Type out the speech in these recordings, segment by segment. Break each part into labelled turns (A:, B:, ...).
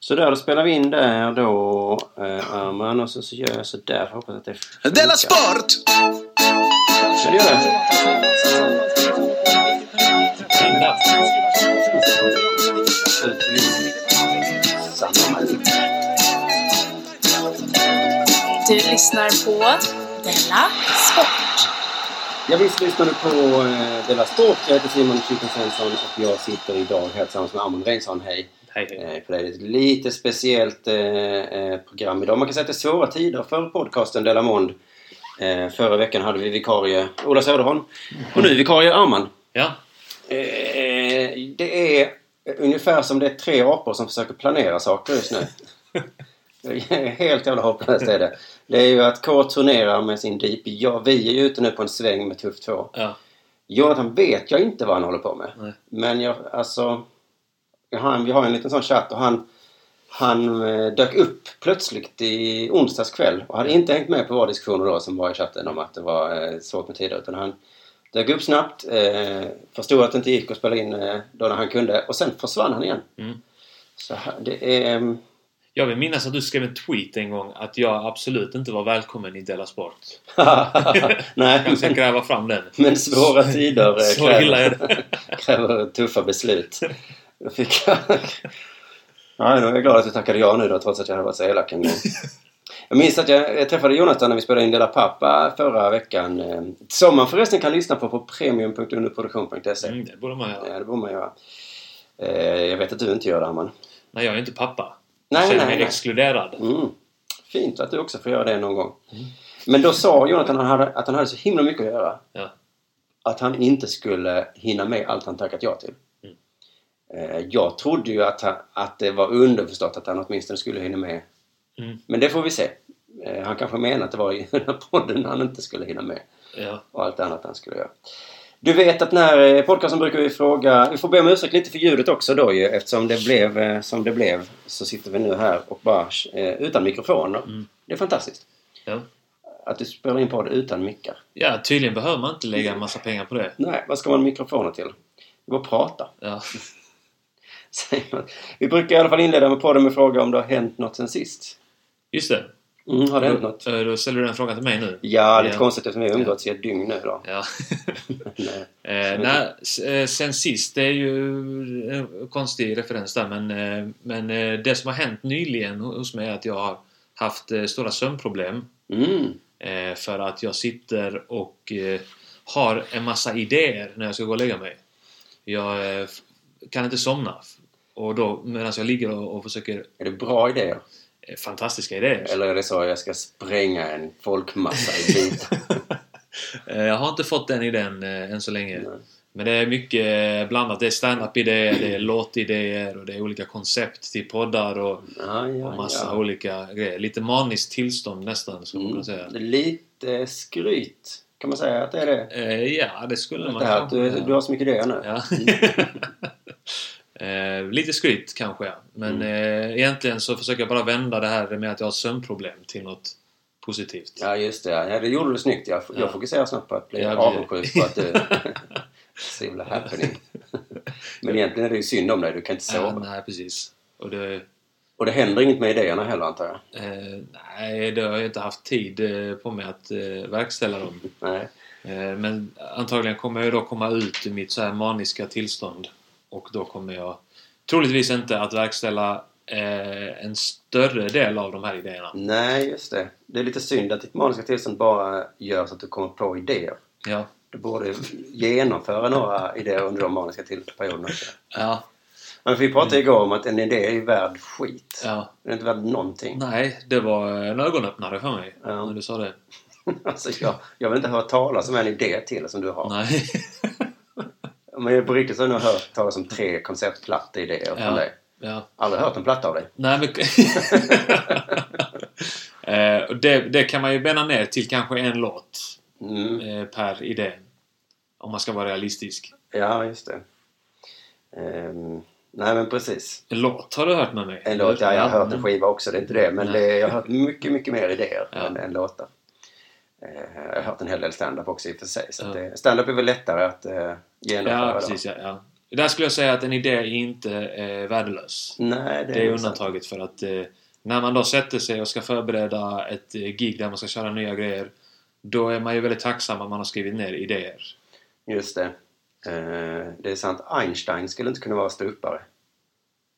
A: Så där, då spelar vi in det och då eh, är man och så, så gör jag sådär. Hoppas att det funkar.
B: Della Sport!
A: Ja, det gör det.
C: Du lyssnar på Della Sport.
A: Ja, visst lyssnar du på eh, Della Sport. Jag heter Simon Chippen Svensson och jag sitter idag här tillsammans med Amund Reinsson. Hej!
D: Hej, hej.
A: Eh, För det är ett lite speciellt eh, eh, program idag. Man kan säga att det är svåra tider för podcasten Della Mond. Eh, förra veckan hade vi vikarie Ola Söderholm och nu är vikarie Arman.
D: Ja.
A: Eh, det är ungefär som det är tre apor som försöker planera saker just nu. Helt jävla hopplöst är det. Det är ju att K turnerar med sin DP. Ja, vi är ju ute nu på en sväng med Tuff 2.
D: ja.
A: Jonathan vet jag inte vad han håller på med.
D: Nej.
A: Men jag, alltså... Jag har, en- vi har en liten sån chatt och han... Han eh, dök upp plötsligt i onsdags kväll och hade inte hängt med på våra diskussioner då som var i chatten om att det var eh, svårt med tider. Utan han dök upp snabbt, eh, förstod att det inte gick att spela in eh, då när han kunde och sen försvann han igen.
D: Mm.
A: Så ha- det är... ehm,
D: Jag vill minnas att du skrev en tweet en gång att jag absolut inte var välkommen i Della Sport.
A: Nej,
D: Jag ska
A: men,
D: gräva fram den.
A: men svåra tider eh,
D: Så illa är det.
A: kräver tuffa beslut. Då fick jag... Ja, nu är jag glad att jag tackade ja nu då, trots att jag hade varit så elak en gång. Jag minns att jag jag träffade Jonathan när vi spelade in Dela Pappa förra veckan. eh, Som man förresten kan lyssna på på premium.underproduktion.se.
D: Mm, det borde man göra.
A: Ja, det borde man göra. Eh, Jag vet att du inte gör det, Herman.
D: Nej, jag är inte pappa.
A: Nej,
D: jag känner
A: nej,
D: mig
A: nej.
D: exkluderad.
A: Mm. Fint att du också får göra det någon gång.
D: Mm.
A: Men då sa Jonathan att han hade, att han hade så himla mycket att göra.
D: Ja.
A: att han inte skulle hinna med allt han tackat ja till. Eh, Jag trodde ju att, han, att det var underförstått att han åtminstone skulle hinna med.
D: Mm.
A: Men det får vi se. Eh, Han kanske menade att det var i den här podden han inte skulle hinna med
D: Ja.
A: och allt annat han skulle göra. Du vet att när eh, podcasten brukar vi fråga... Vi får be om ursäkt lite för ljudet också då ju eftersom det blev eh, som det blev så sitter vi nu här och bara eh, utan mikrofon. Det är fantastiskt
D: Ja.
A: att du spelar in podd utan mickar.
D: ja, tydligen behöver man inte lägga en massa pengar på det.
A: Nej, vad ska man ha mikrofoner till? Det går att prata.
D: Ja.
A: säger man. Vi brukar i alla fall inleda med podden med fråga om det har hänt något sen sist.
D: Just det.
A: Mm, har det hänt
D: Då,
A: något?
D: eh, då ställer du en fråga till mig nu.
A: Ja, lite
D: Ja.
A: konstigt eftersom vi har umgåtts i ett dygn nu då.
D: Ja.
A: Nej.
D: Eh, nej, s- eh, sen sist, det är ju en konstig referens där men, eh, men eh, det som har hänt nyligen ho- hos mig är att jag har haft eh, stora sömnproblem
A: Mm.
D: eh, för att jag sitter och eh, har en massa idéer när jag ska gå och lägga mig. Jag eh, f- kan inte somna f- och då medan jag ligger och, och försöker
A: Är det bra idéer?
D: eh, fantastiska idéer.
A: Eller är det så att jag ska spränga en folkmassa i bitar?
D: Eh, Jag har inte fått den idén eh, än så länge.
A: Nej.
D: Men det är mycket eh, blandat. Det är stand-up-idéer, det är låtidéer och det är olika koncept till poddar och,
A: Ja, Mm.
D: och
A: ja,
D: massa
A: ja.
D: olika grejer. Lite maniskt tillstånd nästan, skulle man kunna säga.
A: Mm. Lite skryt, kan man säga att det är det?
D: Eh, ja, det skulle man
A: det här, att
D: kanske
A: du,
D: kunna
A: du har så mycket idéer nu. Mm.
D: Ja. eh, lite skryt kanske, ja. Men eh, egentligen så försöker jag bara vända det här med att jag har sömnproblem till något positivt.
A: Ja, just det. Ja, det gjorde du snyggt. Jag,
D: Ja.
A: jag fokuserar snabbt på att bli
D: Ja, det-
A: avundsjuk på att du... så himla happening. Men egentligen är det ju synd om dig. Du kan inte sova.
D: Eh, nej, precis. Och det,
A: Och det händer inget med idéerna heller antar jag?
D: Eh, nej, det har jag inte haft tid eh, på mig att eh, verkställa dem.
A: Nej.
D: Eh, men antagligen kommer jag då komma ut ur mitt så här maniska tillstånd. Och då kommer jag troligtvis inte att verkställa eh, en större del av de här idéerna.
A: Nej, just det. Det är lite synd att ditt maniska tillstånd bara gör så att du kommer på idéer.
D: Ja.
A: Du borde genomföra några idéer under de maniska till- perioderna. också.
D: Ja.
A: Men vi pratade igår om att en idé är ju värd skit.
D: ja.
A: Den är inte värd någonting.
D: Nej, det var en ögonöppnare för mig
A: Ja.
D: när du sa det.
A: Alltså, jag, jag vill inte höra talas om en idé till som du har.
D: Nej.
A: Men på riktigt så har jag nog hört talas om tre konceptplatta idéer från
D: ja.
A: dig.
D: ja.
A: Aldrig hört en platta av dig.
D: Nej, men... eh, och det, det kan man ju bena ner till kanske en låt.
A: Mm.
D: eh, per idé. Om man ska vara realistisk.
A: Ja, just det. Ehm, nej, men precis.
D: En låt har du hört med mig?
A: En låt, ja, jag har hört en
D: Mm.
A: skiva också, det är inte det. Men
D: Nej.
A: det, jag har hört mycket, mycket mer idéer
D: Ja.
A: än, än låtar. Eh, jag har hört en hel del stand-up också i och för sig. Så
D: Ja.
A: att det, stand-up är väl lättare att eh, genomföra.
D: Ja,
A: då.
D: precis. Ja, ja. Där skulle jag säga att en idé är inte är värdelös.
A: Nej, det,
D: Det är
A: nog sant.
D: undantaget för att eh, när man då sätter sig och ska förbereda ett eh, gig där man ska köra nya grejer då är man ju väldigt tacksam att man har skrivit ner idéer.
A: Just det. Eh, det är sant. Einstein skulle inte kunna vara ståuppare.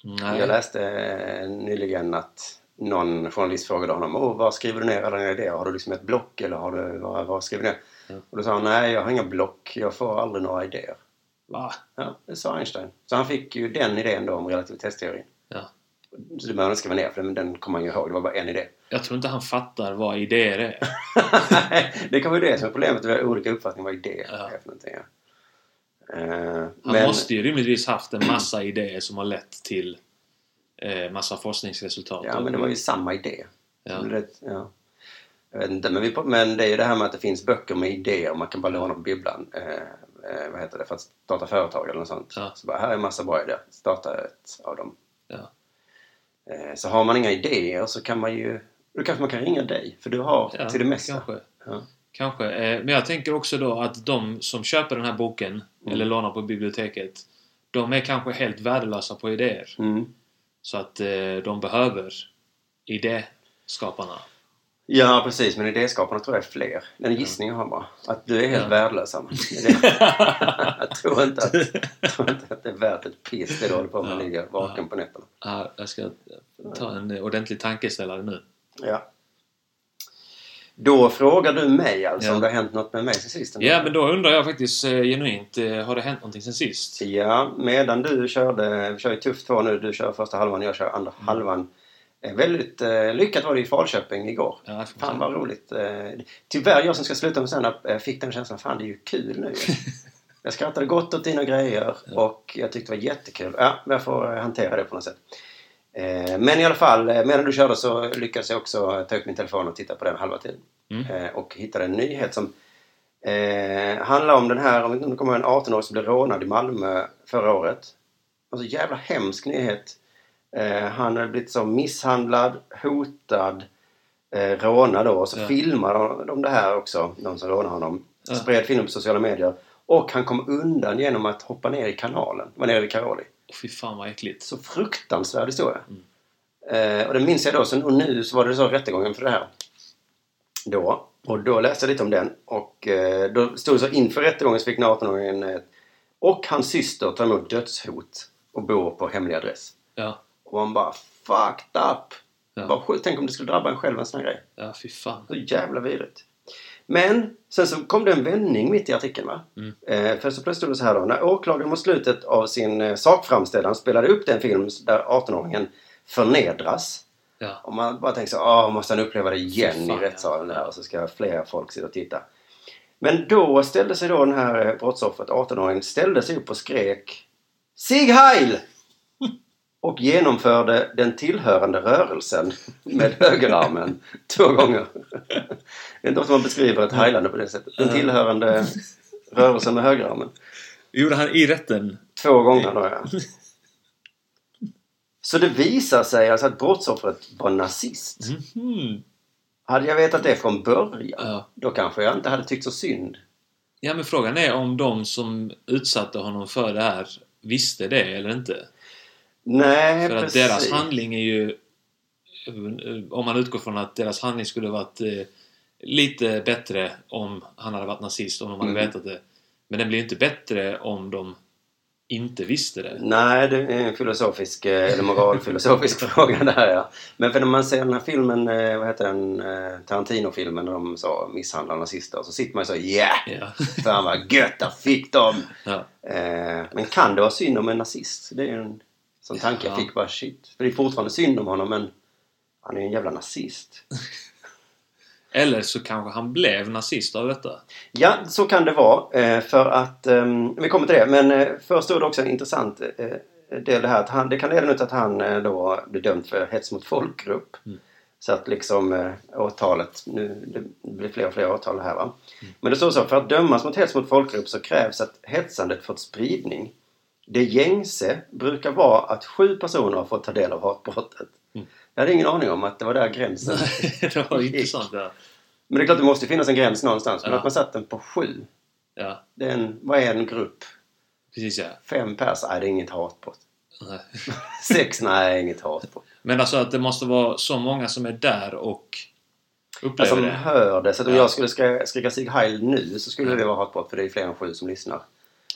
A: Jag
D: Nej.
A: läste eh, nyligen att någon journalist frågade honom Åh, vad skriver du ner alla dina idéer? Har du liksom ett block eller har du, vad, vad skriver du ner?
D: Ja.
A: Och då sa han nej, jag har inga block. Jag får aldrig några idéer.
D: Va?
A: Ja, det sa Einstein. Så han fick ju den idén då om relativitetsteorin.
D: Ja.
A: Så det behöver han inte skriva ner för den, den kommer han ju ihåg. Det var bara en idé.
D: Jag tror inte han fattar vad idéer är.
A: det kan vara det som är problemet. Vi har olika uppfattningar vad idéer
D: Ja.
A: är för någonting. Ja. Eh,
D: Han
A: men-
D: måste ju rimligtvis haft en massa idéer som har lett till eh, massa forskningsresultat.
A: Ja, men det var ju samma idé.
D: Ja.
A: Det är rätt- ja. Jag vet inte, men, vi, men det är ju det här med att det finns böcker med idéer. Man kan bara låna på bibblan. Eh, eh, vad heter det? För att starta företag eller något sånt.
D: Ja.
A: Så bara, här är massa bra idéer. Starta ett av dem.
D: Ja.
A: Eh, så har man inga idéer så kan man ju... Då kanske man kan ringa dig, för du har
D: Ja,
A: till det mesta.
D: Kanske.
A: Ja.
D: kanske. Eh, Men jag tänker också då att de som köper den här boken
A: Mm.
D: eller lånar på biblioteket de är kanske helt värdelösa på idéer.
A: Mm.
D: Så att eh, de behöver idéskaparna.
A: Ja, precis. Men idéskaparna tror jag är fler. Den gissningen har jag bara. Att du är helt
D: Ja.
A: värdelös, Anna. Det är det. jag tror inte, att, jag tror inte att det är värt ett piss det du håller på med.
D: Ja.
A: Ja. Ligga vaken på nätterna.
D: Ja, jag ska ta en eh, ordentlig tankeställare nu.
A: Ja. Då frågar du mig alltså
D: Ja.
A: om det har hänt något med mig sen sist?
D: Ja, men då undrar jag faktiskt eh, genuint, eh, har det hänt någonting sen sist?
A: Ja, medan du körde, vi kör ju tufft två nu, du kör första halvan jag kör andra
D: Mm.
A: halvan. Eh, Väldigt eh, lyckat var det i Falköping igår.
D: Ja, jag får
A: Fan
D: se.
A: vad roligt. Eh, tyvärr jag som ska sluta med stand-up eh, fick den känslan, fan det är ju kul nu ju. Jag skrattade gott åt dina grejer och jag tyckte det var jättekul. Ja, men jag får eh, hantera det på något sätt. Eh, Men i alla fall, eh, medan du körde så lyckades jag också ta upp min telefon och titta på den halva tiden.
D: Mm.
A: Eh, Och hittade en nyhet som eh, handlar om den här, om vi inte kommer ihåg, en 18-åring som blev rånad i Malmö förra året. Alltså jävla hemsk nyhet. Eh, Han hade blivit så misshandlad, hotad, eh, rånad då. Och så
D: Ja.
A: filmade de- de det här också, de som rånade honom.
D: Ja.
A: Spred filmen på sociala medier. Och han kom undan genom att hoppa ner i kanalen. Det var nere vid Karoli
D: Fy fan vad äckligt.
A: så fruktansvärd historia. Eh, och det minns jag då. Så, och nu så var det så rättegången för det här. Då. Och då läste jag lite om den. Och eh, då stod det så inför rättegången så fick den 18-åringen eh, och hans syster ta emot dödshot och bor på hemlig adress.
D: Ja,
A: Och man bara fucked up!
D: Ja.
A: Vad sjukt, tänk om det skulle drabba en själv en sån här grej.
D: ja fy fan.
A: Så jävla vidrigt. Men sen så kom det en vändning mitt i artikeln. Va?
D: Mm.
A: Eh, för så plötsligt stod det så här då. När åklagaren mot slutet av sin eh, sakframställan spelade upp den film där 18-åringen förnedras.
D: Ja,
A: Och man bara tänker så ah måste han uppleva det igen
D: Fan,
A: i rättssalen där och så ska fler folk sitta och titta. Men då ställde sig då den här eh, brottsoffret, 18-åringen, ställde sig upp och skrek Sig Heil! Och genomförde den tillhörande rörelsen med högerarmen två gånger. Det är inte ofta man beskriver ett heilande på det sättet. Den tillhörande rörelsen med högerarmen.
D: gjorde han i rätten?
A: Två gånger då ja. Så det visar sig alltså att brottsoffret var nazist.
D: Mhm.
A: Hade jag vetat det från början,
D: Ja.
A: då kanske jag inte hade tyckt så synd.
D: Ja, men frågan är om de som utsatte honom för det här visste det eller inte.
A: Nej,
D: För att
A: precis.
D: deras handling är ju... Om man utgår från att deras handling skulle varit eh, lite bättre om han hade varit nazist, om de hade
A: Mm.
D: vetat det. Men den blir ju inte bättre om de inte visste det.
A: Nej, det är en filosofisk, eh, eller moralfilosofisk fråga där ja. Men för när man ser den här filmen, eh, vad heter den, eh, Tarantino-filmen när de så misshandlar nazister, så sitter man ju så yeah!
D: Ja.
A: Fan vad gött, där fick de!
D: ja.
A: Eh, Men kan det vara synd om en nazist? Det är ju en sån tanke jag
D: Ja.
A: fick bara shit. För det är fortfarande synd om honom men han är ju en jävla nazist.
D: Eller så kanske han blev nazist av detta.
A: Ja, så kan det vara. eh, För att, ehm, vi kommer till det, men eh, först stod det också en intressant eh, del det här att han, det kan leda ut att han eh, då blir dömd för hets mot folkgrupp.
D: Mm.
A: Så att liksom eh, åtalet, nu det blir fler och fler åtal här va.
D: Mm.
A: Men det står så, för att dömas mot hets mot folkgrupp så krävs att hetsandet fått spridning. Det gängse brukar vara att sju personer har fått ta del av hatbrottet.
D: Mm.
A: Jag hade ingen aning om att det var där gränsen
D: det var intressant. Ja.
A: Men det är klart det måste finnas en gräns någonstans. Men
D: Ja.
A: att man satt den på sju.
D: Ja.
A: Det är en, vad är en grupp?
D: Precis ja.
A: Fem pers, nej det är inget hatbrott.
D: Nej.
A: Sex, nej inget hatbrott.
D: Men alltså att det måste vara så många som är där och upplever
A: Alltså de
D: det.
A: hör det. Så att om
D: Ja.
A: jag skulle skrika, skrika Sig Heil nu så skulle det vara hatbrott för det är fler än sju som lyssnar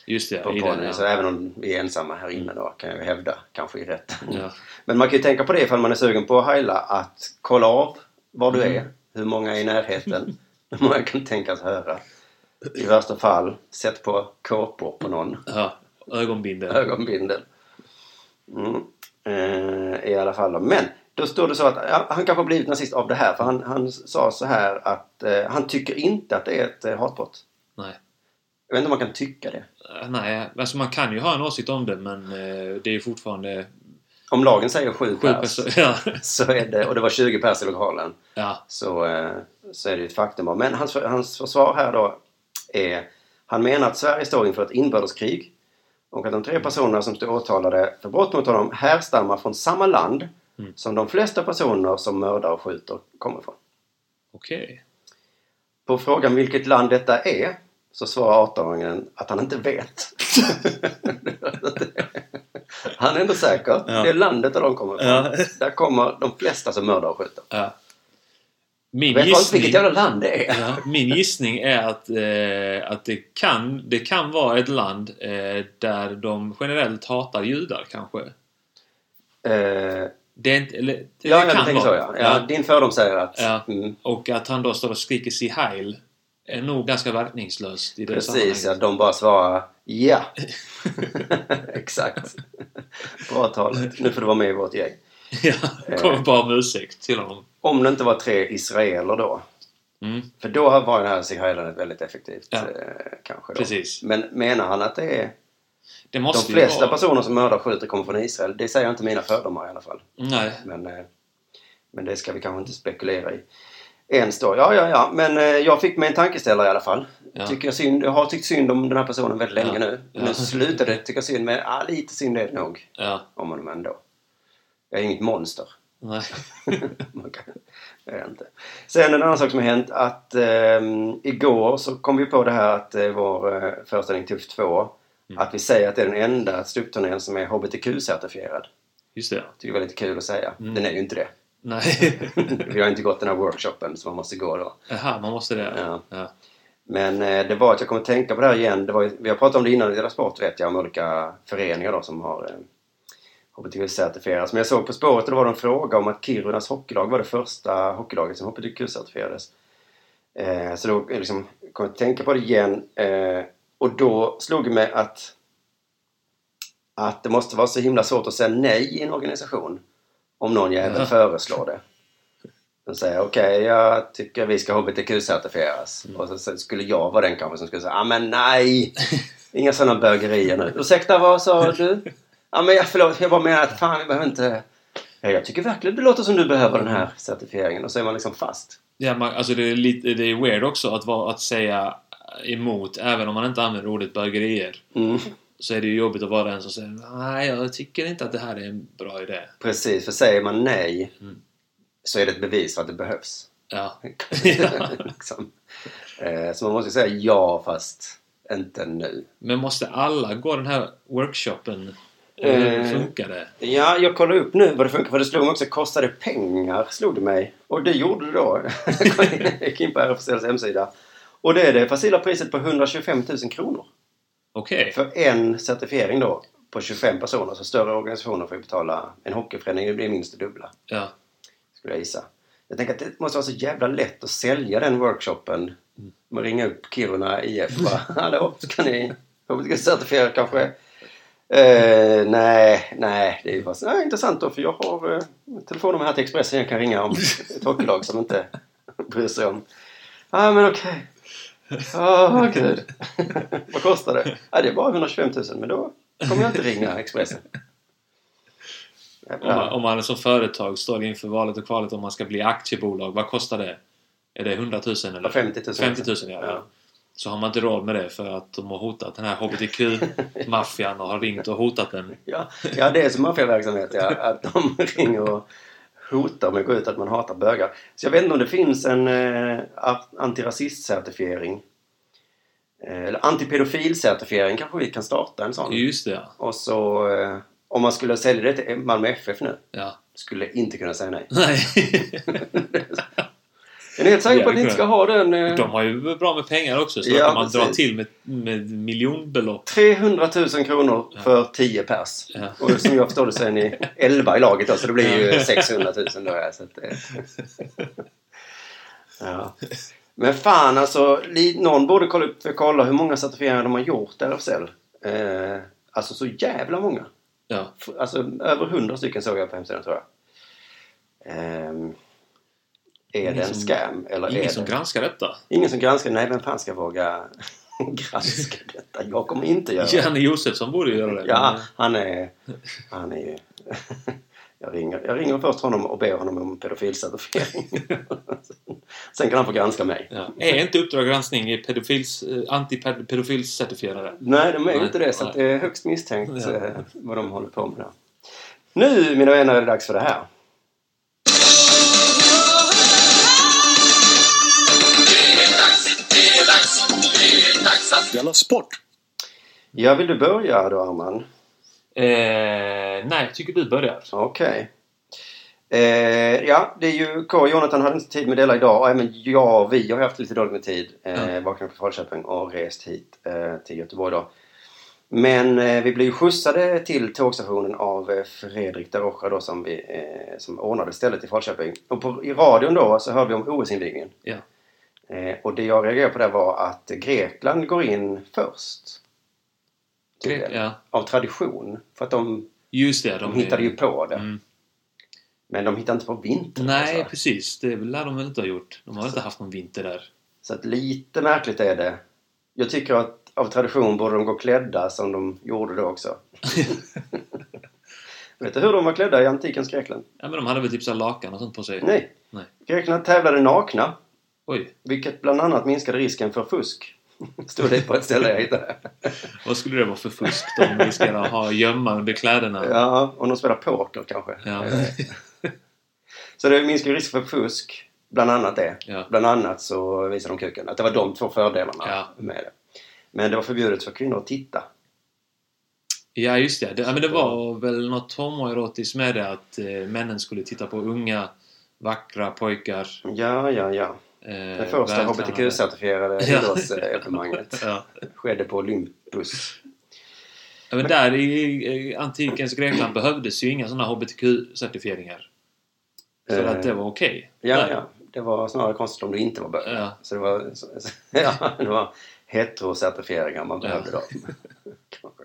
D: Just det,
A: på
D: i
A: podden.
D: den,
A: Så
D: ja.
A: även om vi är ensamma här inne då kan jag ju hävda, kanske i rätt.
D: Ja.
A: Men man kan ju tänka på det ifall man är sugen på att heila att kolla av var du
D: Mm.
A: är, hur många är i närheten, hur många kan tänkas höra. I värsta fall, sätt på kåpor på någon.
D: ja. Ögonbindel.
A: ögonbindel. Mm. Eh, I alla fall. då. Men då stod det så att ja, han kanske har blivit nazist av det här. För han, han sa så här att eh, han tycker inte att det är ett eh, hatbrott.
D: Nej.
A: Jag vet inte om man kan tycka det.
D: Eh, Nej, alltså man kan ju ha en åsikt om det men eh, det är ju fortfarande
A: Om lagen säger sju
D: sju
A: pers
D: personer. Ja.
A: så är det, och det var 20 pers i lokalen
D: ja.
A: så, eh, så är det ju ett faktum. Men hans, hans försvar här då är han menar att Sverige står inför ett inbördeskrig och att de
D: Mm.
A: tre personerna som står åtalade för brott mot honom härstammar från samma land
D: Mm.
A: som de flesta personer som mördar och skjuter kommer från.
D: Okej.
A: På frågan vilket land detta är så svarar 18-åringen att han inte vet. han är ändå säker.
D: Ja.
A: Det är landet där de kommer från.
D: Ja.
A: Där kommer de flesta som mördar och skjuter.
D: Ja. Min
A: Vet folk
D: gissning...
A: vilket jävla land det är?
D: Ja, min gissning är att, eh, att det, kan, det kan vara ett land eh, där de generellt hatar judar kanske.
A: Eh,
D: Det, är inte, eller, det
A: Ja,
D: det
A: jag
D: kan
A: tänker så
D: vara.
A: ja. ja.
D: Ja.
A: Din fördom säger att...
D: Ja.
A: Mm,
D: Och att han då står och skriker sig heil är nog ganska verkningslöst i det
A: precis, ja,
D: sammanhanget.
A: de bara svarar ja. Exakt. Bra talat. Nu får du vara med i vårt gäng.
D: Ja. Kommer bara om ursäkt till honom.
A: Om det inte var tre israeler då.
D: Mm,
A: För då var den här Sigailanet väldigt effektivt
D: Ja.
A: eh, kanske. Då.
D: precis.
A: Men menar han att det är...
D: Det måste
A: de
D: ju
A: flesta
D: vara...
A: personer som mördar och skjuter kommer från Israel. Det säger inte mina fördomar i alla fall.
D: Nej.
A: Men, eh, men det ska vi kanske inte spekulera i. Ens då. Ja, ja, ja. Men eh, jag fick mig en tankeställare i alla fall.
D: Ja.
A: Tycker jag, synd, jag har tyckt synd om den här personen väldigt länge
D: Ja.
A: nu.
D: Ja.
A: Nu slutar det tycka synd, men ja, lite synd är det nog
D: Ja.
A: om honom ändå. Jag är inget monster.
D: Nej.
A: Man kan, det är jag inte. Sen en annan sak som har hänt att ehm, igår så kom vi på det här att eh, vår eh, föreställning Tuff 2
D: Mm.
A: att vi säger att det är den enda ståuppturnén som är HBTQ-certifierad.
D: Just det.
A: Tycker det är väldigt kul att säga.
D: Mm.
A: Den är ju inte det.
D: Nej.
A: Vi har inte gått den här workshopen så man måste gå då.
D: Aha, man måste det.
A: Ja.
D: Ja.
A: Men eh, det var att jag kom att tänka på det här igen. Det var, ju- vi har pratat om det innan i Dela Sport vet jag, om olika föreningar då som har eh, HBTQ-certifierats. Men jag såg På spåret och det var det en fråga om att Kirunas hockeylag var det första hockeylaget som HBTQ-certifierades. Eh, så då eh, liksom, kom jag att tänka på det igen. Eh, och då slog det mig att, att det måste vara så himla svårt att säga nej i en organisation om någon jävel
D: Ja.
A: föreslår det. De säger okej, jag tycker vi ska HBTQ-certifieras.
D: Mm.
A: Och så, så skulle jag vara den kanske som skulle säga ah men nej! Inga sådana bögerier nu. Ursäkta, vad sa du? Ja men jag, förlåt, jag bara menar att fan vi behöver inte... Ja, jag tycker verkligen det låter som du behöver den här certifieringen. Och så är man liksom fast.
D: Ja, man, alltså det är lite, det är weird också att, vara, att säga emot, även om man inte använder ordet bögerier.
A: Mm.
D: Så är det ju jobbigt att vara den som säger nej, jag tycker inte att det här är en bra idé.
A: Precis, för säger man nej
D: Mm.
A: så är det ett bevis för att det behövs.
D: Ja,
A: liksom. eh, så man måste säga ja fast inte nu.
D: men måste alla gå den här workshopen?
A: Eh.
D: Hur funkar det?
A: Ja, jag kollar upp nu vad det funkar för det slog mig också kostade pengar, slog det mig. Och det gjorde det då. Jag gick in på RFSLs hemsida. Och det är det facila priset på 125 000 kronor.
D: Okej.
A: För en certifiering då på 25 personer. Så större organisationer får ju betala, en hockeyförening blir minst det dubbla.
D: Ja.
A: Skulle jag gissa. Jag tänker att det måste vara så jävla lätt att sälja den workshopen. Man ringa upp Kiruna IF och bara Hallå, ska ni ska certifiera kanske? Eh, nej, nej, det är ju bara så, nej, intressant då för jag har eh, telefonnummer här till Expressen jag kan ringa om ett hockeylag som inte bryr sig om. Ja, ah, men okej. Ja, gud. Vad kostar det? Ja, det är bara 125 000 men då kommer jag inte ringa Expressen.
D: Om, man, om man som företag står inför valet och kvalet om man ska bli aktiebolag, vad kostar det? Är det 100 000 eller?
A: Ja, 50 000.
D: 50 000 ja.
A: Ja.
D: Så har man inte råd med det för att de har hotat den här HBTQ-maffian och har ringt och hotat den.
A: Ja, ja det är som maffiaverksamhet ja. Att de ringer och hotar med att gå ut att man hatar bögar. Så jag vet inte om det finns en eh, art- antirasistcertifiering. eh, eller antipedofilcertifiering kanske vi kan starta en sån.
D: Just det, ja.
A: Och så eh, om man skulle sälja det till Malmö FF nu,
D: ja.
A: skulle inte kunna säga nej.
D: Nej.
A: Är ni helt säkra på att ni
D: Jävligt
A: inte ska ha den? eh,
D: De har ju bra med pengar också, så
A: Ja,
D: att om man drar
A: precis.
D: till med, med miljonbelopp.
A: 300 000 kronor för 10 pers.
D: Ja.
A: Och som jag förstår det så är ni 11 i laget då, så det blir ju
D: Ja.
A: 600 000 då. ja, Så att, eh. ja. Men fan alltså, li- någon borde kolla upp för kolla hur många certifieringar de har gjort där RFSL. Eh, alltså så jävla många.
D: Ja.
A: F- Alltså över 100 stycken såg jag på hemsidan tror jag. Ehm, är
D: Ingen
A: det en
D: som-
A: scam? Eller är
D: Ingen
A: det...
D: som granskar detta.
A: ingen som granskar? Nej, vem fan ska våga granska detta? Jag kommer inte göra det.
D: Janne Josefsson borde ju göra det.
A: Ja, han är... Han är ju... Jag ringer, jag ringer först honom och ber honom om pedofilcertifiering. Sen- Sen kan han få granska mig.
D: Ja. Är inte Uppdrag granskning pedofils, eh, antipedofilcertifierade?
A: Nej, de är ju
D: Nej,
A: inte det, så att det
D: nej.
A: är högst misstänkt
D: Ja.
A: eh, vad de håller på med där. Nu, mina vänner, är det dags för det här.
B: Della Sport!
A: Ja, vill du börja då, Arman?
D: Eh, nej, jag tycker du börjar.
A: Okej. Eh, ja, det är ju K. Jonathan hade inte tid med Della idag och även jag, vi har haft lite dåligt med tid. Eh,
D: Ja.
A: Vaknade på Falköping och rest hit eh, till Göteborg då. Men eh, vi blev ju skjutsade till tågstationen av eh, Fredrik da Rocha då som, vi, eh, som ordnade stället i Falköping. Och på, i radion då så hörde vi om OS-invigningen.
D: Ja.
A: Eh, och det jag reagerade på där var att Grekland går in först.
D: Grek, ja.
A: Av tradition. För att de,
D: Just det,
A: de
D: de,
A: hittade ju på det.
D: Mm.
A: Men de hittar inte på vintern.
D: Nej,
A: alltså.
D: precis. Det lär de väl inte ha gjort. De har väl inte haft någon vinter där.
A: Så att lite märkligt är det. Jag tycker att av tradition borde de gå klädda som de gjorde då också. Vet du hur de var klädda i antikens Grekland?
D: Ja, men de hade väl typ så här lakan och sånt på sig.
A: Nej.
D: Nej.
A: Grekland tävlade nakna,
D: Oj,
A: vilket bland annat minskade risken för fusk. Stod det på ett ställe jag hittade.
D: vad skulle det vara för fusk de riskerar att ha gömma under kläderna?
A: Ja, om de spelar poker kanske.
D: Ja.
A: Så det minskar ju risk för fusk, bland annat det.
D: Ja.
A: Bland annat så visade de kuken. Att det var de två fördelarna
D: Ja.
A: med det. Men det var förbjudet för kvinnor att titta.
D: Ja, just det. det ja, men det var väl något homoerotiskt med det att eh, männen skulle titta på unga, vackra pojkar.
A: Ja, ja, ja.
D: Eh,
A: Det första
D: vältränade.
A: hbtq-certifierade
D: Ja.
A: idrottsevenemanget
D: Ja.
A: skedde på Olympus.
D: Ja, men där i eh, antikens Grekland behövdes ju inga sådana HBTQ-certifieringar. För
A: Eh,
D: att det var okej.
A: Ja,
D: Där.
A: ja. Det var snarare konstigt om du inte var bög.
D: Ja.
A: Så det var, så, så, ja, det var heterocertifieringar man
D: Ja.
A: behövde då. Kanske.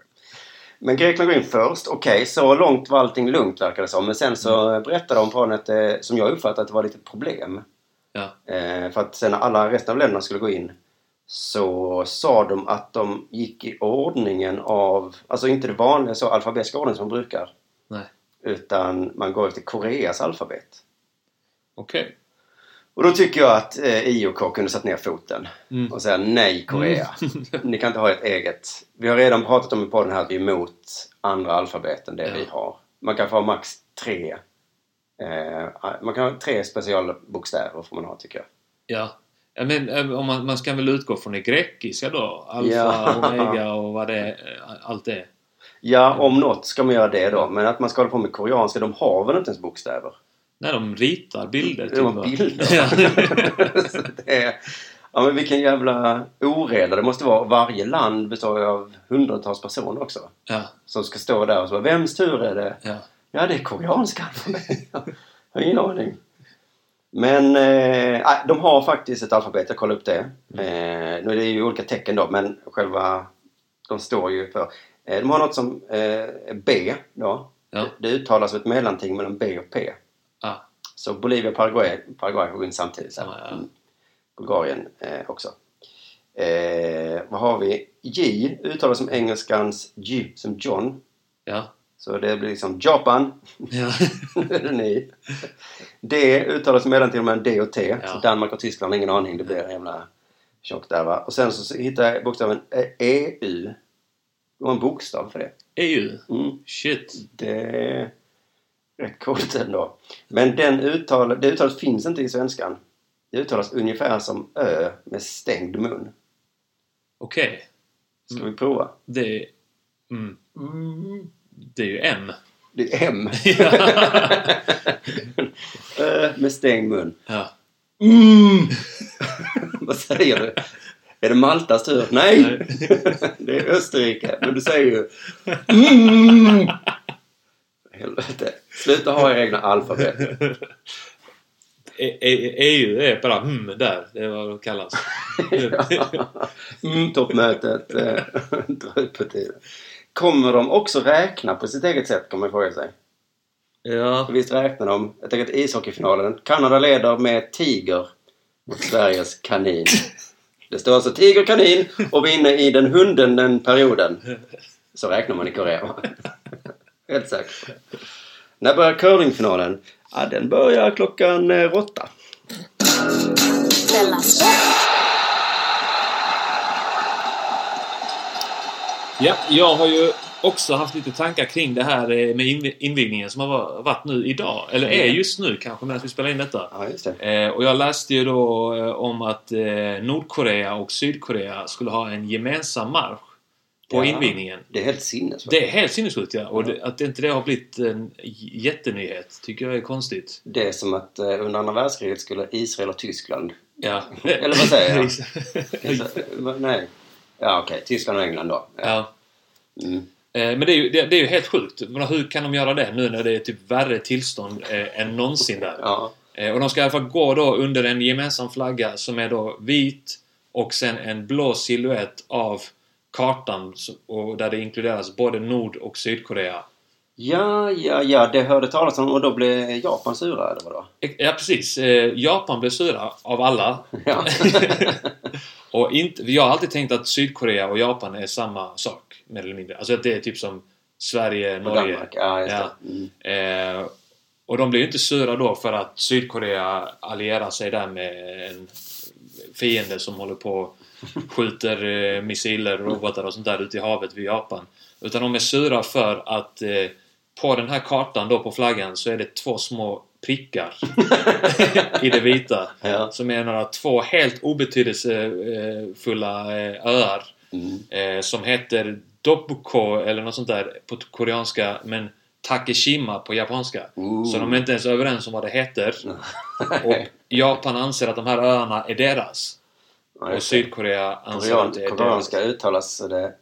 A: Men Grekland går in först. Okej, så långt var allting lugnt verkar det som. Men sen så
D: Mm.
A: berättade de på att eh, som jag uppfattade att det var lite problem.
D: Ja.
A: Eh, för att sen när alla resten av länderna skulle gå in så sa de att de gick i ordningen av, alltså inte det vanliga så alfabetiska ordning som man brukar.
D: Nej.
A: Utan man går efter Koreas alfabet.
D: Okej.
A: Och då tycker jag att eh, IOK kunde satt ner foten
D: Mm.
A: och säga nej Korea. Ni kan inte ha ett eget. Vi har redan pratat om i podden här att vi är emot andra alfabet än det
D: Ja.
A: vi har. Man kan få ha max tre. Eh, man kan ha tre specialbokstäver får man ha tycker jag.
D: Ja. Ja, men eh, om man, man ska väl utgå från det grekiska då? Alfa,
A: Ja.
D: omega och vad det är, eh, allt det är.
A: Ja, om något ska man göra det då. Men att man ska hålla på med koreanska, de har väl inte ens bokstäver?
D: Nej, de ritar bilder. typ,
A: De har
D: va?
A: bilder.
D: Ja.
A: Så det är, ja, men vilken jävla oreda det måste vara. Varje land består ju av hundratals personer också.
D: ja,
A: Som ska stå där och så bara, vems tur är det?
D: ja.
A: Ja, det är koreanska alfabet. Jag har ingen aning. Men eh, ah, de har faktiskt ett alfabet, jag kollade upp det.
D: Mm.
A: Eh, nu är det ju olika tecken då, men själva... De står ju för... Eh, de har något som eh, B då.
D: Ja.
A: Det, det uttalas som ett mellanting mellan B och P.
D: Ah,
A: Så Bolivia och Paraguay, Paraguay går in samtidigt. Så här.
D: Ja, ja.
A: Mm. Bulgarien eh, också. Eh, vad har vi? J uttalas som engelskans J, som John.
D: ja.
A: Så det blir liksom Japan,
D: Ja.
A: nu är det ni. D uttalas mellan till och med D och T.
D: Ja.
A: Så Danmark och Tyskland, ingen aning. Det blir en jävla tjockt där va. Och sen så hittade jag bokstaven eh, EU. Det var en bokstav för det.
D: EU.
A: Mm.
D: Shit.
A: Det är rätt coolt ändå. Men den uttal, det uttalet finns inte i svenskan. Det uttalas ungefär som Ö med stängd mun.
D: Okej.
A: Ska vi prova?
D: Det är... Mm. Mm. Det är ju M.
A: Det är M. Ö med stängd mun.
D: Ja.
A: Mm. Vad säger du? Är det Maltas tur? Nej! det är Österrike. Men du säger ju mm. Helvete. Sluta ha era egna alfabet.
D: E- E- EU är bara mm där. Det är vad det kallas.
A: mm, toppmötet eh, drar ut på tiden. Kommer de också räkna på sitt eget sätt, kan man fråga sig.
D: ja.
A: Visst räknar de? Jag tänker att ishockeyfinalen. Kanada leder med tiger mot Sveriges kanin. Det står alltså tiger, kanin och vi är inne i den hunden den perioden. Så räknar man i Korea. va? Helt säkert. När börjar curlingfinalen? Ja, den börjar klockan eh, åtta.
C: Della Sport!
D: ja. Jag har ju också haft lite tankar kring det här eh, med inv- invigningen som har va- varit nu idag. Eller är just nu kanske medan vi spelar in detta.
A: Ja, just det.
D: Eh, och jag läste ju då eh, om att eh, Nordkorea och Sydkorea skulle ha en gemensam marsch på
A: Ja.
D: invigningen.
A: Det är helt sinnes. va?
D: Det är helt sinnessjukt ja. Och det, att inte det har blivit en j- jättenyhet tycker jag är konstigt.
A: Det är som att eh, under andra världskriget skulle Israel och Tyskland...
D: Ja.
A: Eller vad säger jag?
D: jag?
A: Nej. Ja, okej. Tyskland och England då.
D: ja.
A: Mm.
D: Eh, Men det är, ju, det, det är ju helt sjukt. Men hur kan de göra det nu när det är typ värre tillstånd eh, än någonsin där?
A: Ja.
D: Eh, Och de ska i alla fall gå då under en gemensam flagga som är då vit och sen en blå silhuett av kartan så- och där det inkluderas både Nord och Sydkorea.
A: Ja, ja, ja, det hörde talas om och då blev Japan sura eller vadå?
D: Eh, Ja precis, Eh, Japan blev sura av alla.
A: Ja.
D: och inte, jag har alltid tänkt att Sydkorea och Japan är samma sak, mer eller mindre. Alltså att det är typ som Sverige,
A: Och
D: Norge.
A: Danmark, ja just
D: Ja.
A: det. Mm.
D: Eh, och de blir ju inte sura då för att Sydkorea allierar sig där med en fiende som håller på och skjuter eh, missiler och robotar och sånt där ute i havet vid Japan. Utan de är sura för att eh, på den här kartan då på flaggan så är det två små prickar i det vita.
A: Ja.
D: Som är några två helt obetydelsefulla eh, öar
A: Mm.
D: eh, som heter Dobuko eller något sånt där på t- koreanska men Takeshima på japanska.
A: Ooh.
D: Så de är inte ens överens om vad det heter. Och Japan anser att de här öarna är deras.
A: Ja,
D: och
A: just det.
D: Sydkorea anser att Alltså, det Mm.
A: Korean,
D: är
A: koreanska
D: deras.
A: uttalas så det...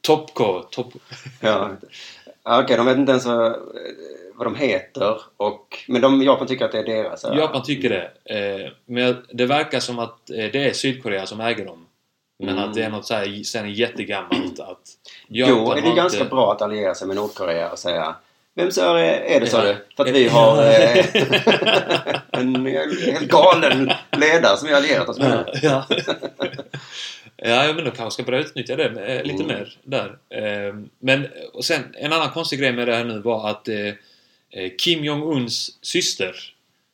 D: Topko. Top...
A: Ja. Ja, Okej, de vet inte ens vad, eh, vad de heter. Och, men de, Japan tycker att det är deras. eller?
D: Japan tycker det. Eh, men det verkar som att eh, det är Sydkorea som äger dem. Men
A: Mm.
D: att det är något så här sen jättegammalt att
A: Då är
D: har
A: det
D: inte-
A: ganska bra att alliera sig med Nordkorea och säga Vem så är, är det sa
D: Ja.
A: du? För att vi har eh, en helt galen ledare som vi har allierat oss med.
D: ja. ja, men då kanske jag ska börja utnyttja det eh, lite
A: Mm.
D: mer där. Eh, Men och sen en annan konstig grej med det här nu var att eh, eh, Kim Jong-Uns syster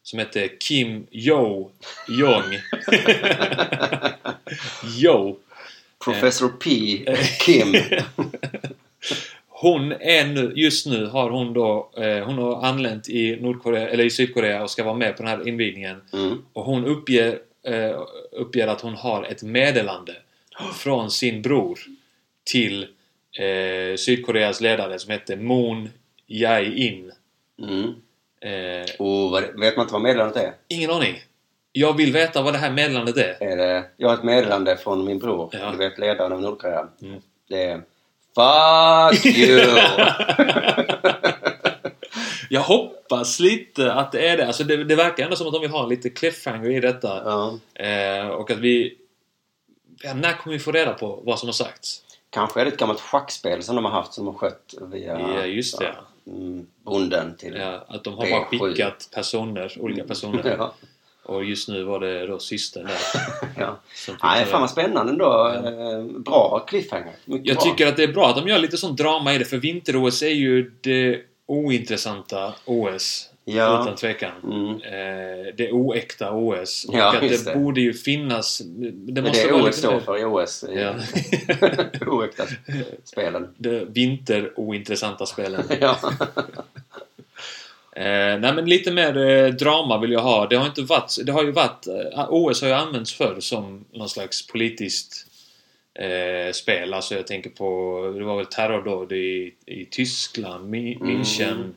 D: som hette Kim Jo Jong Jo
A: Professor P. Kim.
D: Hon är nu, just nu har hon då, eh, hon har anlänt i Nordkorea, eller i Sydkorea och ska vara med på den här invigningen.
A: Mm.
D: Och hon uppger, eh, uppger att hon har ett meddelande från sin bror till eh, Sydkoreas ledare som heter Moon Jae-in.
A: Mm.
D: Eh,
A: Och vad, vet man inte vad meddelandet är?
D: ingen aning. Jag vill veta vad det här meddelandet är.
A: är det, jag har ett meddelande från min bror,
D: Ja.
A: du vet ledaren av Nordkorea.
D: Mm.
A: Det är FUCK YOU!
D: Jag hoppas lite att det är det. Alltså det, det verkar ändå som att de vill ha lite cliffhanger i detta.
A: ja,
D: Eh, och att vi... Ja, när kommer vi få reda på vad som har sagts?
A: kanske är det ett gammalt schackspel som de har haft som de har skött via
D: Ja, just det.
A: ja, mm, bonden till...
D: Ja, att de har bara
A: Det är sjukt.
D: skickat personer, olika personer.
A: ja.
D: Och just nu var det då systern där.
A: ja.
D: som fick
A: Nej,
D: ta
A: fan
D: det.
A: vad spännande ändå. Eh, Bra cliffhanger. Mycket
D: Jag
A: bra.
D: tycker att det är bra att de gör lite sån drama i det, för vinter-OS är ju det ointressanta OS.
A: Ja.
D: Utan tvekan.
A: Mm.
D: Eh, det oäkta OS.
A: Ja,
D: och att det,
A: just det.
D: borde ju finnas... Det
A: Det är det
D: måste vara
A: OS
D: lite
A: står
D: mer-
A: för i OS. i-
D: Ja.
A: Oäkta spelen.
D: Det vinter-ointressanta spelen.
A: Ja.
D: Eh, nej men lite mer eh, drama vill jag ha. Det har inte varit... Det har ju varit... Eh, OS har ju använts förr som någon slags politiskt eh, spel. Alltså jag tänker på... Det var väl terrordåd i, i Tyskland, Mi-
A: Mm.
D: München,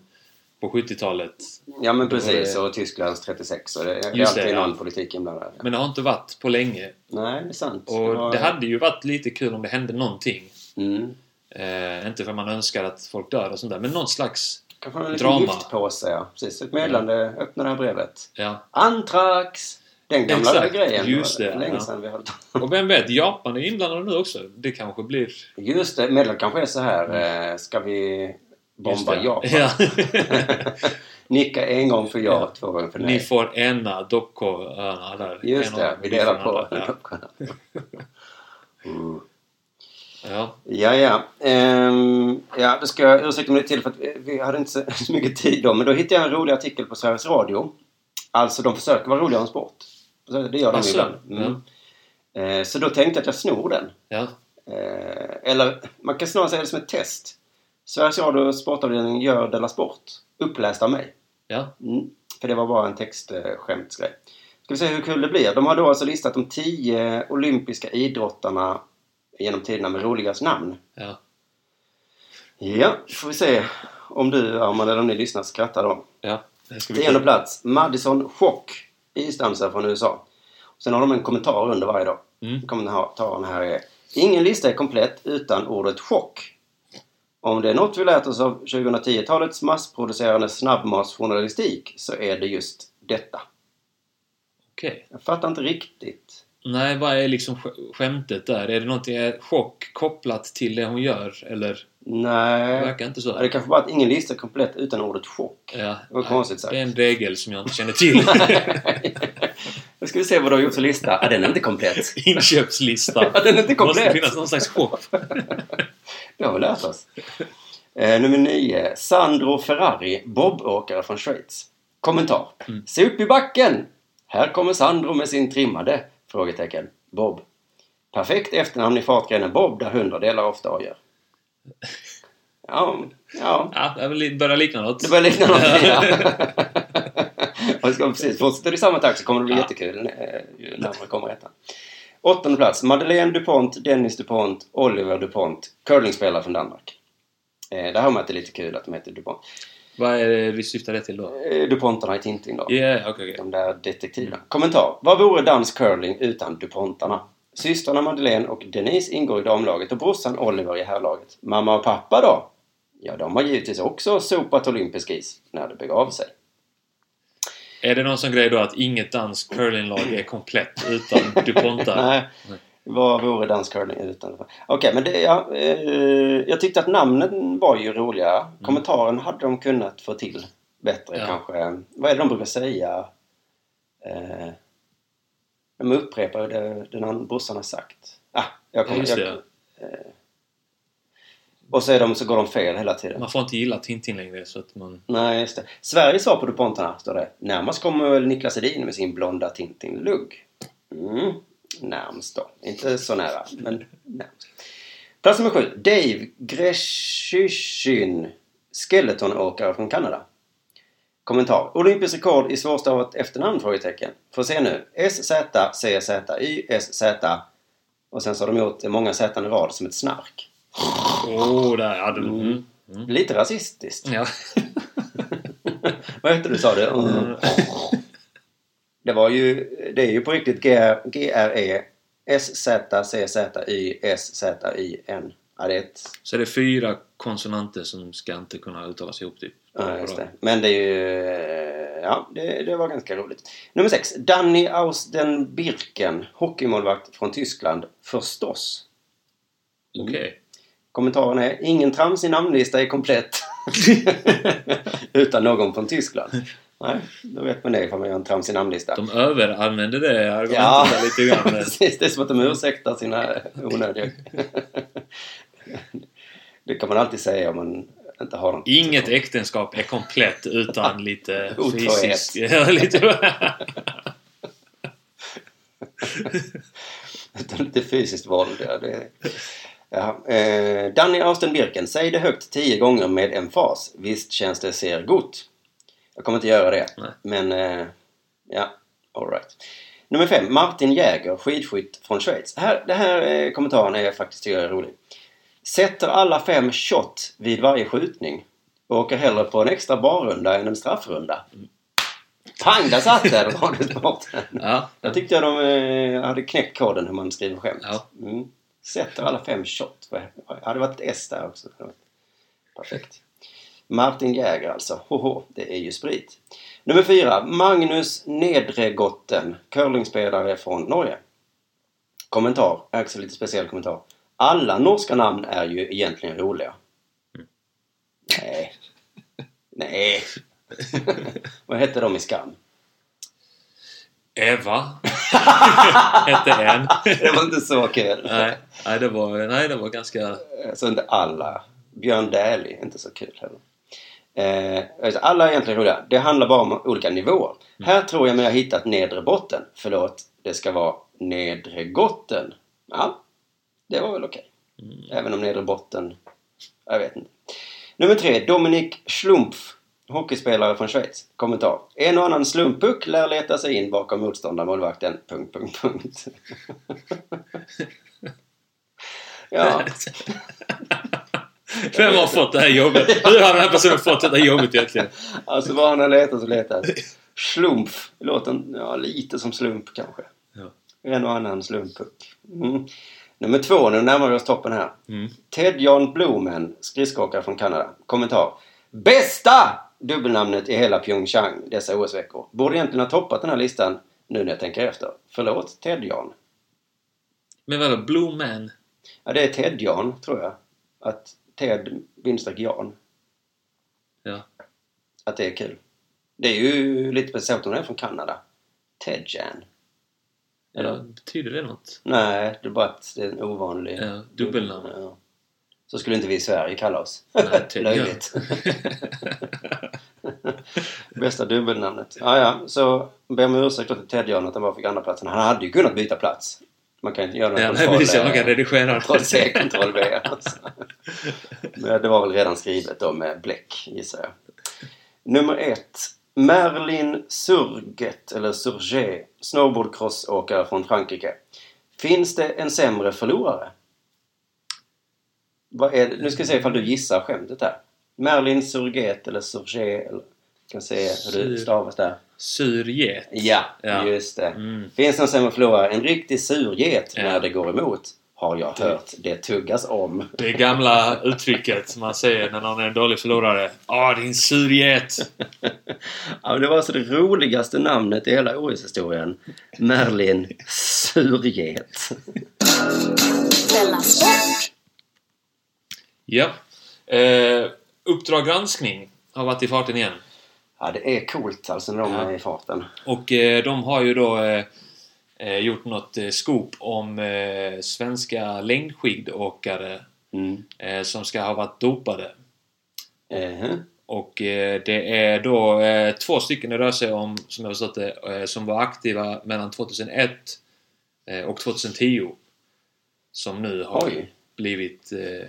D: på 70-talet.
A: Ja men
D: Det var
A: precis,
D: det.
A: och Tysklands 36 och det, det är
D: Just
A: alltid
D: det, ja.
A: någon politik inblandad.
D: Men det har inte varit på länge.
A: Nej, det är sant.
D: Och
A: var-
D: det hade ju varit lite kul om det hände någonting.
A: Mm.
D: Eh, inte för man önskar att folk dör och sånt där, men någon slags...
A: Kanske en liten
D: Drama. Mm.
A: giftpåse, ja. Precis, ett meddelande. Öppna det här brevet.
D: Ja.
A: Antrax! Den gamla
D: Exakt,
A: grejen.
D: just det,
A: länge
D: ja.
A: sedan vi hade...
D: Och vem vet, Japan är inblandade nu också. Det kanske blir...
A: Just det, meddelandet kanske är så här. eh, Ska vi bomba
D: Mm. Just det.
A: Japan?
D: Ja.
A: Nicka en gång för ja,
D: Ja.
A: två gånger för nej.
D: Ni får ena eh, Dockö-öarna där.
A: Just
D: En
A: det,
D: av-
A: vi
D: ni
A: delar
D: får
A: på
D: andra.
A: Mm.
D: Ja. ja.
A: Ja, ja. Ehm, ja, då ska jag ursäkta mig lite till för att vi- vi hade inte så så mycket tid då. Men då hittade jag en rolig artikel på Sveriges Radio. Alltså, de försöker vara roliga om sport. Så Det gör de ju
D: Alltså,
A: ibland. Mm. Eh, Så då tänkte jag att jag snor den.
D: ja.
A: Eh, Eller, man kan snarare säga det som ett test. Sveriges Radio sportavdelning gör Della Sport. Uppläst av mig.
D: ja.
A: Mm, för det var bara en textskämtsgrej. Ska vi se hur kul det blir. De har då alltså listat de tio olympiska idrottarna genom tiderna med roligast namn.
D: ja.
A: Ja, får vi se om du Arman eller om ni lyssnar skrattar då.
D: Ja. Det ska bli
A: Tionde
D: kul.
A: plats, Madison Chock, isdansare från USA. Sen har de en kommentar under varje dag.
D: Mm.
A: Kommentaren här är Ingen lista är komplett utan ordet chock. Om det är något vi lärt oss av 2010-talets massproducerande snabbmatsjournalistik så är det just detta.
D: Okej.
A: Jag fattar inte riktigt.
D: Nej, vad är liksom sk- skämtet där? Är det någonting, är chock kopplat till det hon gör? Eller? Det
A: Nej.
D: verkar inte
A: Ja, Det
D: så.
A: kanske bara att ingen lista är komplett utan ordet chock.
D: Ja.
A: Det var konstigt sagt.
D: Det är en regel som jag inte känner till.
A: Nu ska vi se vad du har gjort för lista. Ja, den är inte komplett.
D: Inköpslista.
A: Ja, den är inte
D: Det måste
A: komplett.
D: finnas någon slags chock.
A: Det har vi lärt oss. Eh, nummer nio. Sandro Ferrari, bobåkare från Schweiz. Kommentar. Se upp i backen! Här kommer Sandro med sin trimmade? Frågetecken. Bob. Perfekt efternamn i fartgrenen Bob där hundradelar ofta avgör. Ja, ja.
D: Ja, det är väl li- börjar likna något.
A: Det börjar likna någonting. Ja. Och ska precis, fortsätter i samma takt så kommer det bli
D: Ja.
A: jättekul eh, ju närmare kommer ettan. Åttonde plats. Madeleine DuPont, Dennis DuPont, Oliver DuPont. Curlingspelare från Danmark. Eh, det här med att det är lite kul att de heter DuPont.
D: Vad är det vi syftar det till då?
A: Eh, DuPontarna i Tintin då.
D: Ja, yeah, okej. okej.
A: De där detektiverna. Kommentar. Vad vore dansk curling utan DuPontarna? Systrarna Madeleine och Denise ingår i damlaget och brorsan Oliver i herrlaget. Mamma och pappa då? Ja, de har givetvis också sopat olympisk is när det begav sig.
D: Är det någon sån grej då att inget danskt curlinglag är komplett utan DuPontar?
A: Nej. Vad vore danscurling utan? Okej, men det, ja, eh, jag tyckte att namnen var ju roliga. Kommentaren hade de kunnat få till bättre
D: Mm. Ja.
A: kanske. Vad är det de brukar säga? Eh, de upprepar ju det den andra brorsan har sagt. Ah, jag
D: Ja,
A: kommer,
D: just
A: jag, eh.
D: det.
A: och så, är de, så går de fel hela tiden.
D: Man får inte gilla Tintin längre så att man...
A: Nej, just det. Sverige svar på DuPontarna, står det. Närmast kommer väl Niklas Edin med sin blonda Tintin-lugg. Mm, närmst då. Inte så nära, men närmst. Plats nummer sju. Dave Greshishin, skeletonåkare från Kanada. Kommentar. Olympiskt rekord i svårstavat efternamn? Frågetecken. Får se nu. SZ, CZ, YSZ. Och sen så har de gjort många Z i rad som ett snark.
D: Åh, oh, där! Ja, du... mm.
A: Lite rasistiskt.
D: ja.
A: Vad hette du sa du? Mm. Det var ju, det är ju på riktigt GR, GRE SZCZYSZYN. Ja, det är ett...
D: Så det är fyra konsonanter som ska inte kunna uttalas ihop typ.
A: Ja, just det. Men det är ju... eh, Ja, det, det var ganska roligt. Nummer sex. Danny Ausden Birken, hockeymålvakt från Tyskland, förstås.
D: Okej.
A: Kommentaren är ingen trams i namnlista är komplett. Utan någon från Tyskland. Nej, då vet man det ifall man gör en trams i namnlista.
D: De överanvänder det argumentet
A: Mm. Ja,
D: där lite grann.
A: precis. Det är som att de ursäktar sina onödiga... det kan man alltid säga om man inte har något.
D: Inget äktenskap är komplett utan lite
A: Otrohet.
D: fysisk... Ja, lite...
A: Utan lite fysiskt våld. Ja, det... ja. Eh, Danny Austen Birken, säg det högt tio gånger med emfas. Visst känns det ser gott. Jag kommer inte göra det.
D: Nej.
A: Men, eh, ja, alright. Nummer fem, Martin Jäger, skidskytt från Schweiz. Här, den här eh, kommentaren är faktiskt tycker jag är rolig. Sätter alla fem shot vid varje skjutning och åker hellre på en extra barrunda än en straffrunda. Pang, där satt den! Då var du smart.
D: Ja,
A: Jag tyckte jag de eh, hade knäckt koden hur man skriver skämt.
D: Ja.
A: Mm. Sätter alla fem shot. Vad- Hade det varit ett S där också. hade det varit Perfekt. Martin Jäger alltså. Hoho, det är ju sprit. Nummer fyra. Magnus Nedregotten, curlingspelare från Norge. Kommentar. Axel lite speciell kommentar. Alla norska namn är ju egentligen roliga.
D: Mm.
A: Nej. Nej. Vad hette de i Skam?
D: Eva hette en.
A: Det var inte så kul.
D: Nej, nej, det var, nej, det var ganska...
A: Alltså inte alla. Björn Dählie, är inte så kul heller. Eh, alltså, alla är egentligen roliga. Det handlar bara om olika nivåer. Här tror jag mig ha hittat nedre botten. Förlåt, det ska vara nedre gotten. Ja, det var väl okej. Även om nedre botten... Jag vet inte. Nummer tre, Dominik Schlumpf. Hockeyspelare från Schweiz. Kommentar. En och annan slumppuck lär leta sig in bakom motståndarmålvakten... Punkt, punkt, punkt. ja.
D: Vem har fått det här jobbet? Hur har den här personen fått detta jobbet egentligen?
A: Alltså vad han har letat och letat. Slump. Låter ja, lite som slump kanske.
D: Ja.
A: En och annan slumppuck. Mm. Nummer två, nu närmar vi oss toppen här.
D: Mm.
A: Ted John Blumen, skridskoåkare från Kanada. Kommentar. Bästa dubbelnamnet i hela Pyeongchang dessa OS-veckor. Borde egentligen ha toppat den här listan nu när jag tänker efter. Förlåt, Ted John.
D: Men vadå, Blue Man?
A: Ja, det är Ted John, tror jag. Att Ted bindstreck Jan.
D: Ja.
A: att det är kul. Det är ju lite speciellt om den är från Kanada. Tedjan.
D: Eller, betyder det något?
A: Nej, det är bara att det är en ovanlig...
D: Ja, dubbelnamn.
A: Ja. Så skulle inte vi i Sverige kalla oss.
D: Nej, Ted
A: Löjligt. Bästa dubbelnamnet. Ja, ja. Så ber om ursäkt då till Tedjan att han bara fick andra platsen. Han hade ju kunnat byta plats. Man kan inte göra den
D: Ja, nej, precis. Man kan redigera.
A: Kontroll C, kontroll B. Alltså. Men det var väl redan skrivet då med bläck, gissar jag. Nummer ett. Merlin Surget, eller Surget, snowboardcrossåkare från Frankrike. Finns det en sämre förlorare? Vad är det? Nu ska vi se ifall du gissar skämtet här. Merlin Surget, eller Surget, eller... Jag kan se hur det
D: Sur-
A: stavas där.
D: Surget.
A: Ja,
D: Ja.
A: just det.
D: Mm.
A: Finns någon sämre förlorare? En riktig surget
D: Ja.
A: när det går emot. Har jag hört. Det tuggas om.
D: Det gamla uttrycket som man säger när någon är en dålig förlorare. Ah, din surget!
A: ja, men det var alltså det roligaste namnet i hela OS-historien. Merlin Surget.
C: Della Sport.
D: Ja. Eh, Uppdrag granskning har varit i farten igen.
A: Ja, det är coolt alltså när de
D: Ja.
A: är i farten.
D: Och eh, de har ju då eh, eh, gjort något eh, scoop om eh, svenska längdskidåkare
A: Mm.
D: eh, som ska ha varit dopade.
A: Eh,
D: Och eh, det är då eh, två stycken det rör sig om, som jag förstått det, eh, som var aktiva mellan 2001 eh, och 2010. Som nu har
A: Oj.
D: blivit... Eh,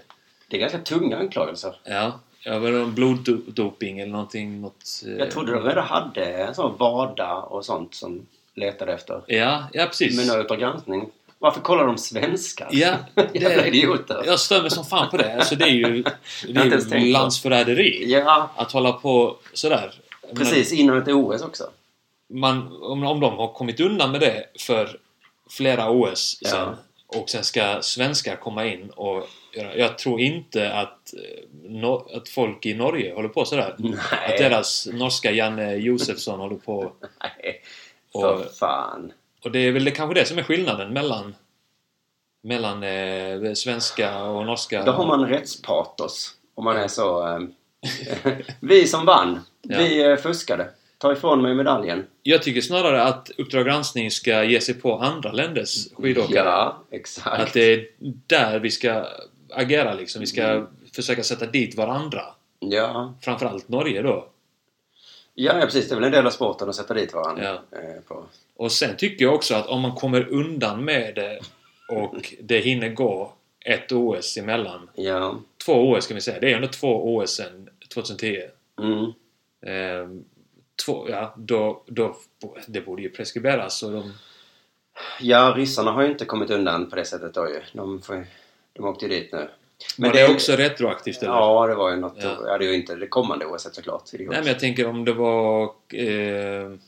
A: Det är ganska tunga anklagelser.
D: ja, jag vet inte om bloddoping eller någonting, något... Eh,
A: Jag trodde de redan hade en sån Wada och sånt som letade efter.
D: Ja, ja precis.
A: Men eh, nu Uppdrag granskning. Varför kollar de svenskar?
D: Ja,
A: Jävla idioter.
D: Jag stör mig som fan på det. Alltså det är ju, det
A: inte ens
D: är
A: tänkt
D: ju
A: på.
D: landsförräderi.
A: ja,
D: Att hålla på sådär. Jag menar,
A: precis. Innan ett OS också.
D: man, om, om de har kommit undan med det för flera OS
A: Ja.
D: sen och sen ska svenskar komma in och göra, Jag tror inte att, eh, no, att folk i Norge håller på sådär.
A: Nej.
D: Att deras norska Janne Josefsson håller på.
A: Nej,
D: Och-
A: för fan.
D: Och det är väl det, kanske det som är skillnaden mellan mellan eh, svenska och norska.
A: Då har man rättspatos. Om man är så... Eh, vi som vann, vi eh, fuskade. Ta ifrån mig medaljen.
D: Jag tycker snarare att Uppdrag granskning ska ge sig på andra länders skidåkare.
A: Ja,
D: Att
A: exakt.
D: det är där vi ska agera liksom. Vi ska
A: Mm.
D: försöka sätta dit varandra.
A: Ja.
D: Framförallt Norge då.
A: Ja, ja, precis. Det är väl en del av sporten att sätta dit varandra. eh, På.
D: Och sen tycker jag också att om man kommer undan med det och det hinner gå ett OS emellan.
A: Ja.
D: Två OS kan vi säga. Det är ändå två OS sedan 2010.
A: Mm.
D: Ehm, två, ja, då, då, det borde ju preskriberas. Så de,
A: Ja, ryssarna har ju inte kommit undan på det sättet då ju. De, får, de åkte ju dit nu.
D: var det, också retroaktivt eller?
A: Ja, det var ju något...
D: Ja.
A: Ja. det är ju inte det kommande OSet såklart. Det är ju
D: Nej men
A: också-
D: jag tänker om det var... Eh,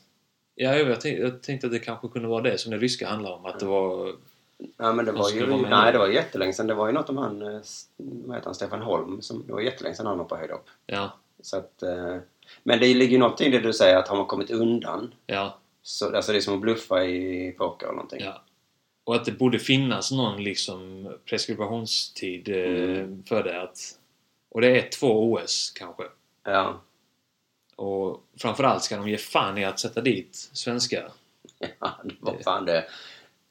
D: ja, jag, tänkte, jag tänkte att det kanske kunde vara det som det ryska handlar om. Att det var...
A: Nej, men det
D: Vad
A: var
D: skulle
A: ju...
D: vara med?
A: Nej, det var ju jättelänge sedan. Det var ju något om han... eh, S- Vad heter han? Stefan Holm. Som, det var jättelänge sedan han hoppade höjdhopp.
D: Ja,
A: Så att... eh, Men det ligger ju någonting i det du säger att har man kommit undan
D: ja,
A: så, alltså det är som att bluffa i poker eller någonting.
D: ja. Och att det borde finnas någon liksom preskribationstid eh,
A: Mm.
D: för det. Att, och det är två OS kanske.
A: Ja.
D: Och framförallt ska de ge fan i att sätta dit svenskar.
A: ja det var fan det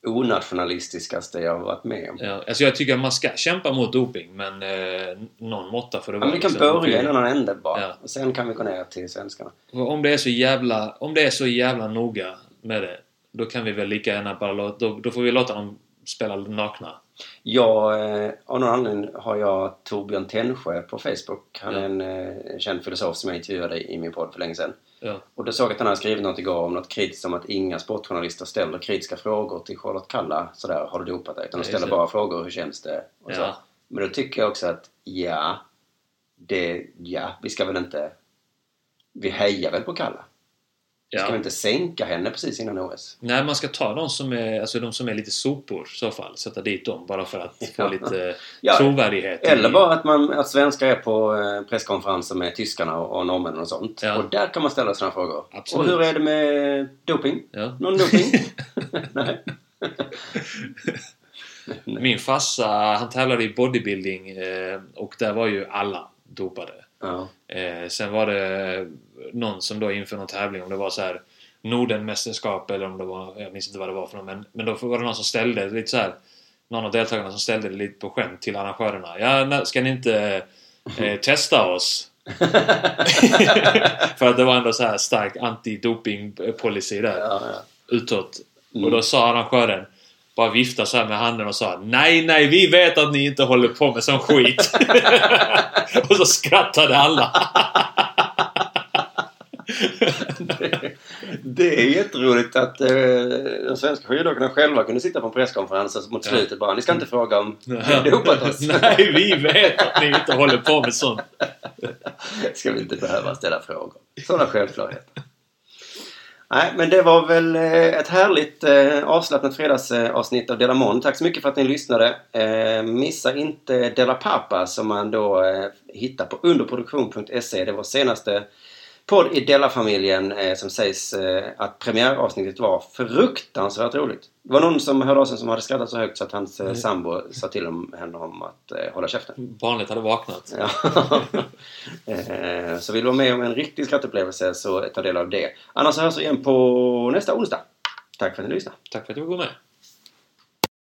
A: onationalistiskaste jag har varit med om.
D: Ja, alltså jag tycker att man ska kämpa mot doping men eh, någon måtta får det
A: Ja, men vi kan
D: liksom.
A: börja i en annan ände bara.
D: Ja.
A: Och sen kan vi gå ner till svenskarna.
D: Och Om det är så jävla, om det är så jävla noga med det, då kan vi väl lika gärna bara låta, då, då får vi låta dem spela nakna.
A: Jag, eh, av någon anledning har jag Torbjörn Tännsjö på Facebook. Han
D: Ja.
A: är en eh, känd filosof som jag intervjuade i min podd för länge sedan.
D: Ja.
A: Och då såg jag att han hade skrivit något igår om något kritiskt om att inga sportjournalister ställer kritiska frågor till Charlotte Kalla sådär, har du dopat dig? Utan de
D: Nej,
A: ställer
D: just det.
A: bara frågor, hur känns det? Och så.
D: Ja.
A: Men då tycker jag också att, ja, det, ja, vi ska väl inte, vi hejar väl på Kalla? Ska vi
D: Ja.
A: inte sänka henne precis innan OS?
D: Nej, man ska ta de som är, alltså de som är lite sopor i så fall, sätta dit dem bara för att få
A: Ja.
D: lite
A: Ja.
D: trovärdighet. i-
A: Eller bara att, man, att svenskar är på eh, presskonferenser med tyskarna och, och norrmännen och sånt.
D: Ja.
A: Och där kan man ställa sådana frågor.
D: Absolut.
A: Och hur är det med doping?
D: Ja.
A: Någon doping? Nej.
D: Min farsa, han tävlade i bodybuilding eh, och där var ju alla dopade.
A: Ja.
D: Eh, sen var det någon som då inför någon tävling, om det var så här Nordenmästerskap eller om det var, jag minns inte vad det var för någon, men, men då var det någon som ställde det lite så här någon av deltagarna som ställde det lite på skämt till arrangörerna. Ja, när, ska ni inte eh, testa oss? för att det var ändå så här stark anti-doping-policy där
A: Ja, ja.
D: utåt. Och då sa arrangören bara vifta så här med handen och sa Nej, nej, vi vet att ni inte håller på med sån skit. och så skrattade alla.
A: Det är jätteroligt att eh, de svenska skidåkarna själva kunde sitta på en presskonferens och mot
D: Ja.
A: slutet bara Ni ska inte fråga om vi har dopat oss.
D: nej, vi vet att ni inte håller på med sånt.
A: ska vi inte behöva ställa frågor. Sådana självklarheter. Nej, men det var väl eh, ett härligt eh, avslappnat fredagsavsnitt av Dela Mon. Tack så mycket för att ni lyssnade. Eh, Missa inte Dela Pappa som man då eh, hittar på underproduktion.se. E. Det var senaste podd i Della-familjen eh, som sägs eh, att premiäravsnittet var fruktansvärt roligt. Det var någon som hörde av sig som hade skrattat så högt så att hans eh, sambo sa till om- henne om att eh, hålla käften.
D: Barnet hade vaknat.
A: Ja. Eh, så vill du vara med om en riktig skrattupplevelse så ta del av det. Annars hörs vi igen på nästa onsdag. Tack för att ni lyssnade.
D: Tack för att du var med.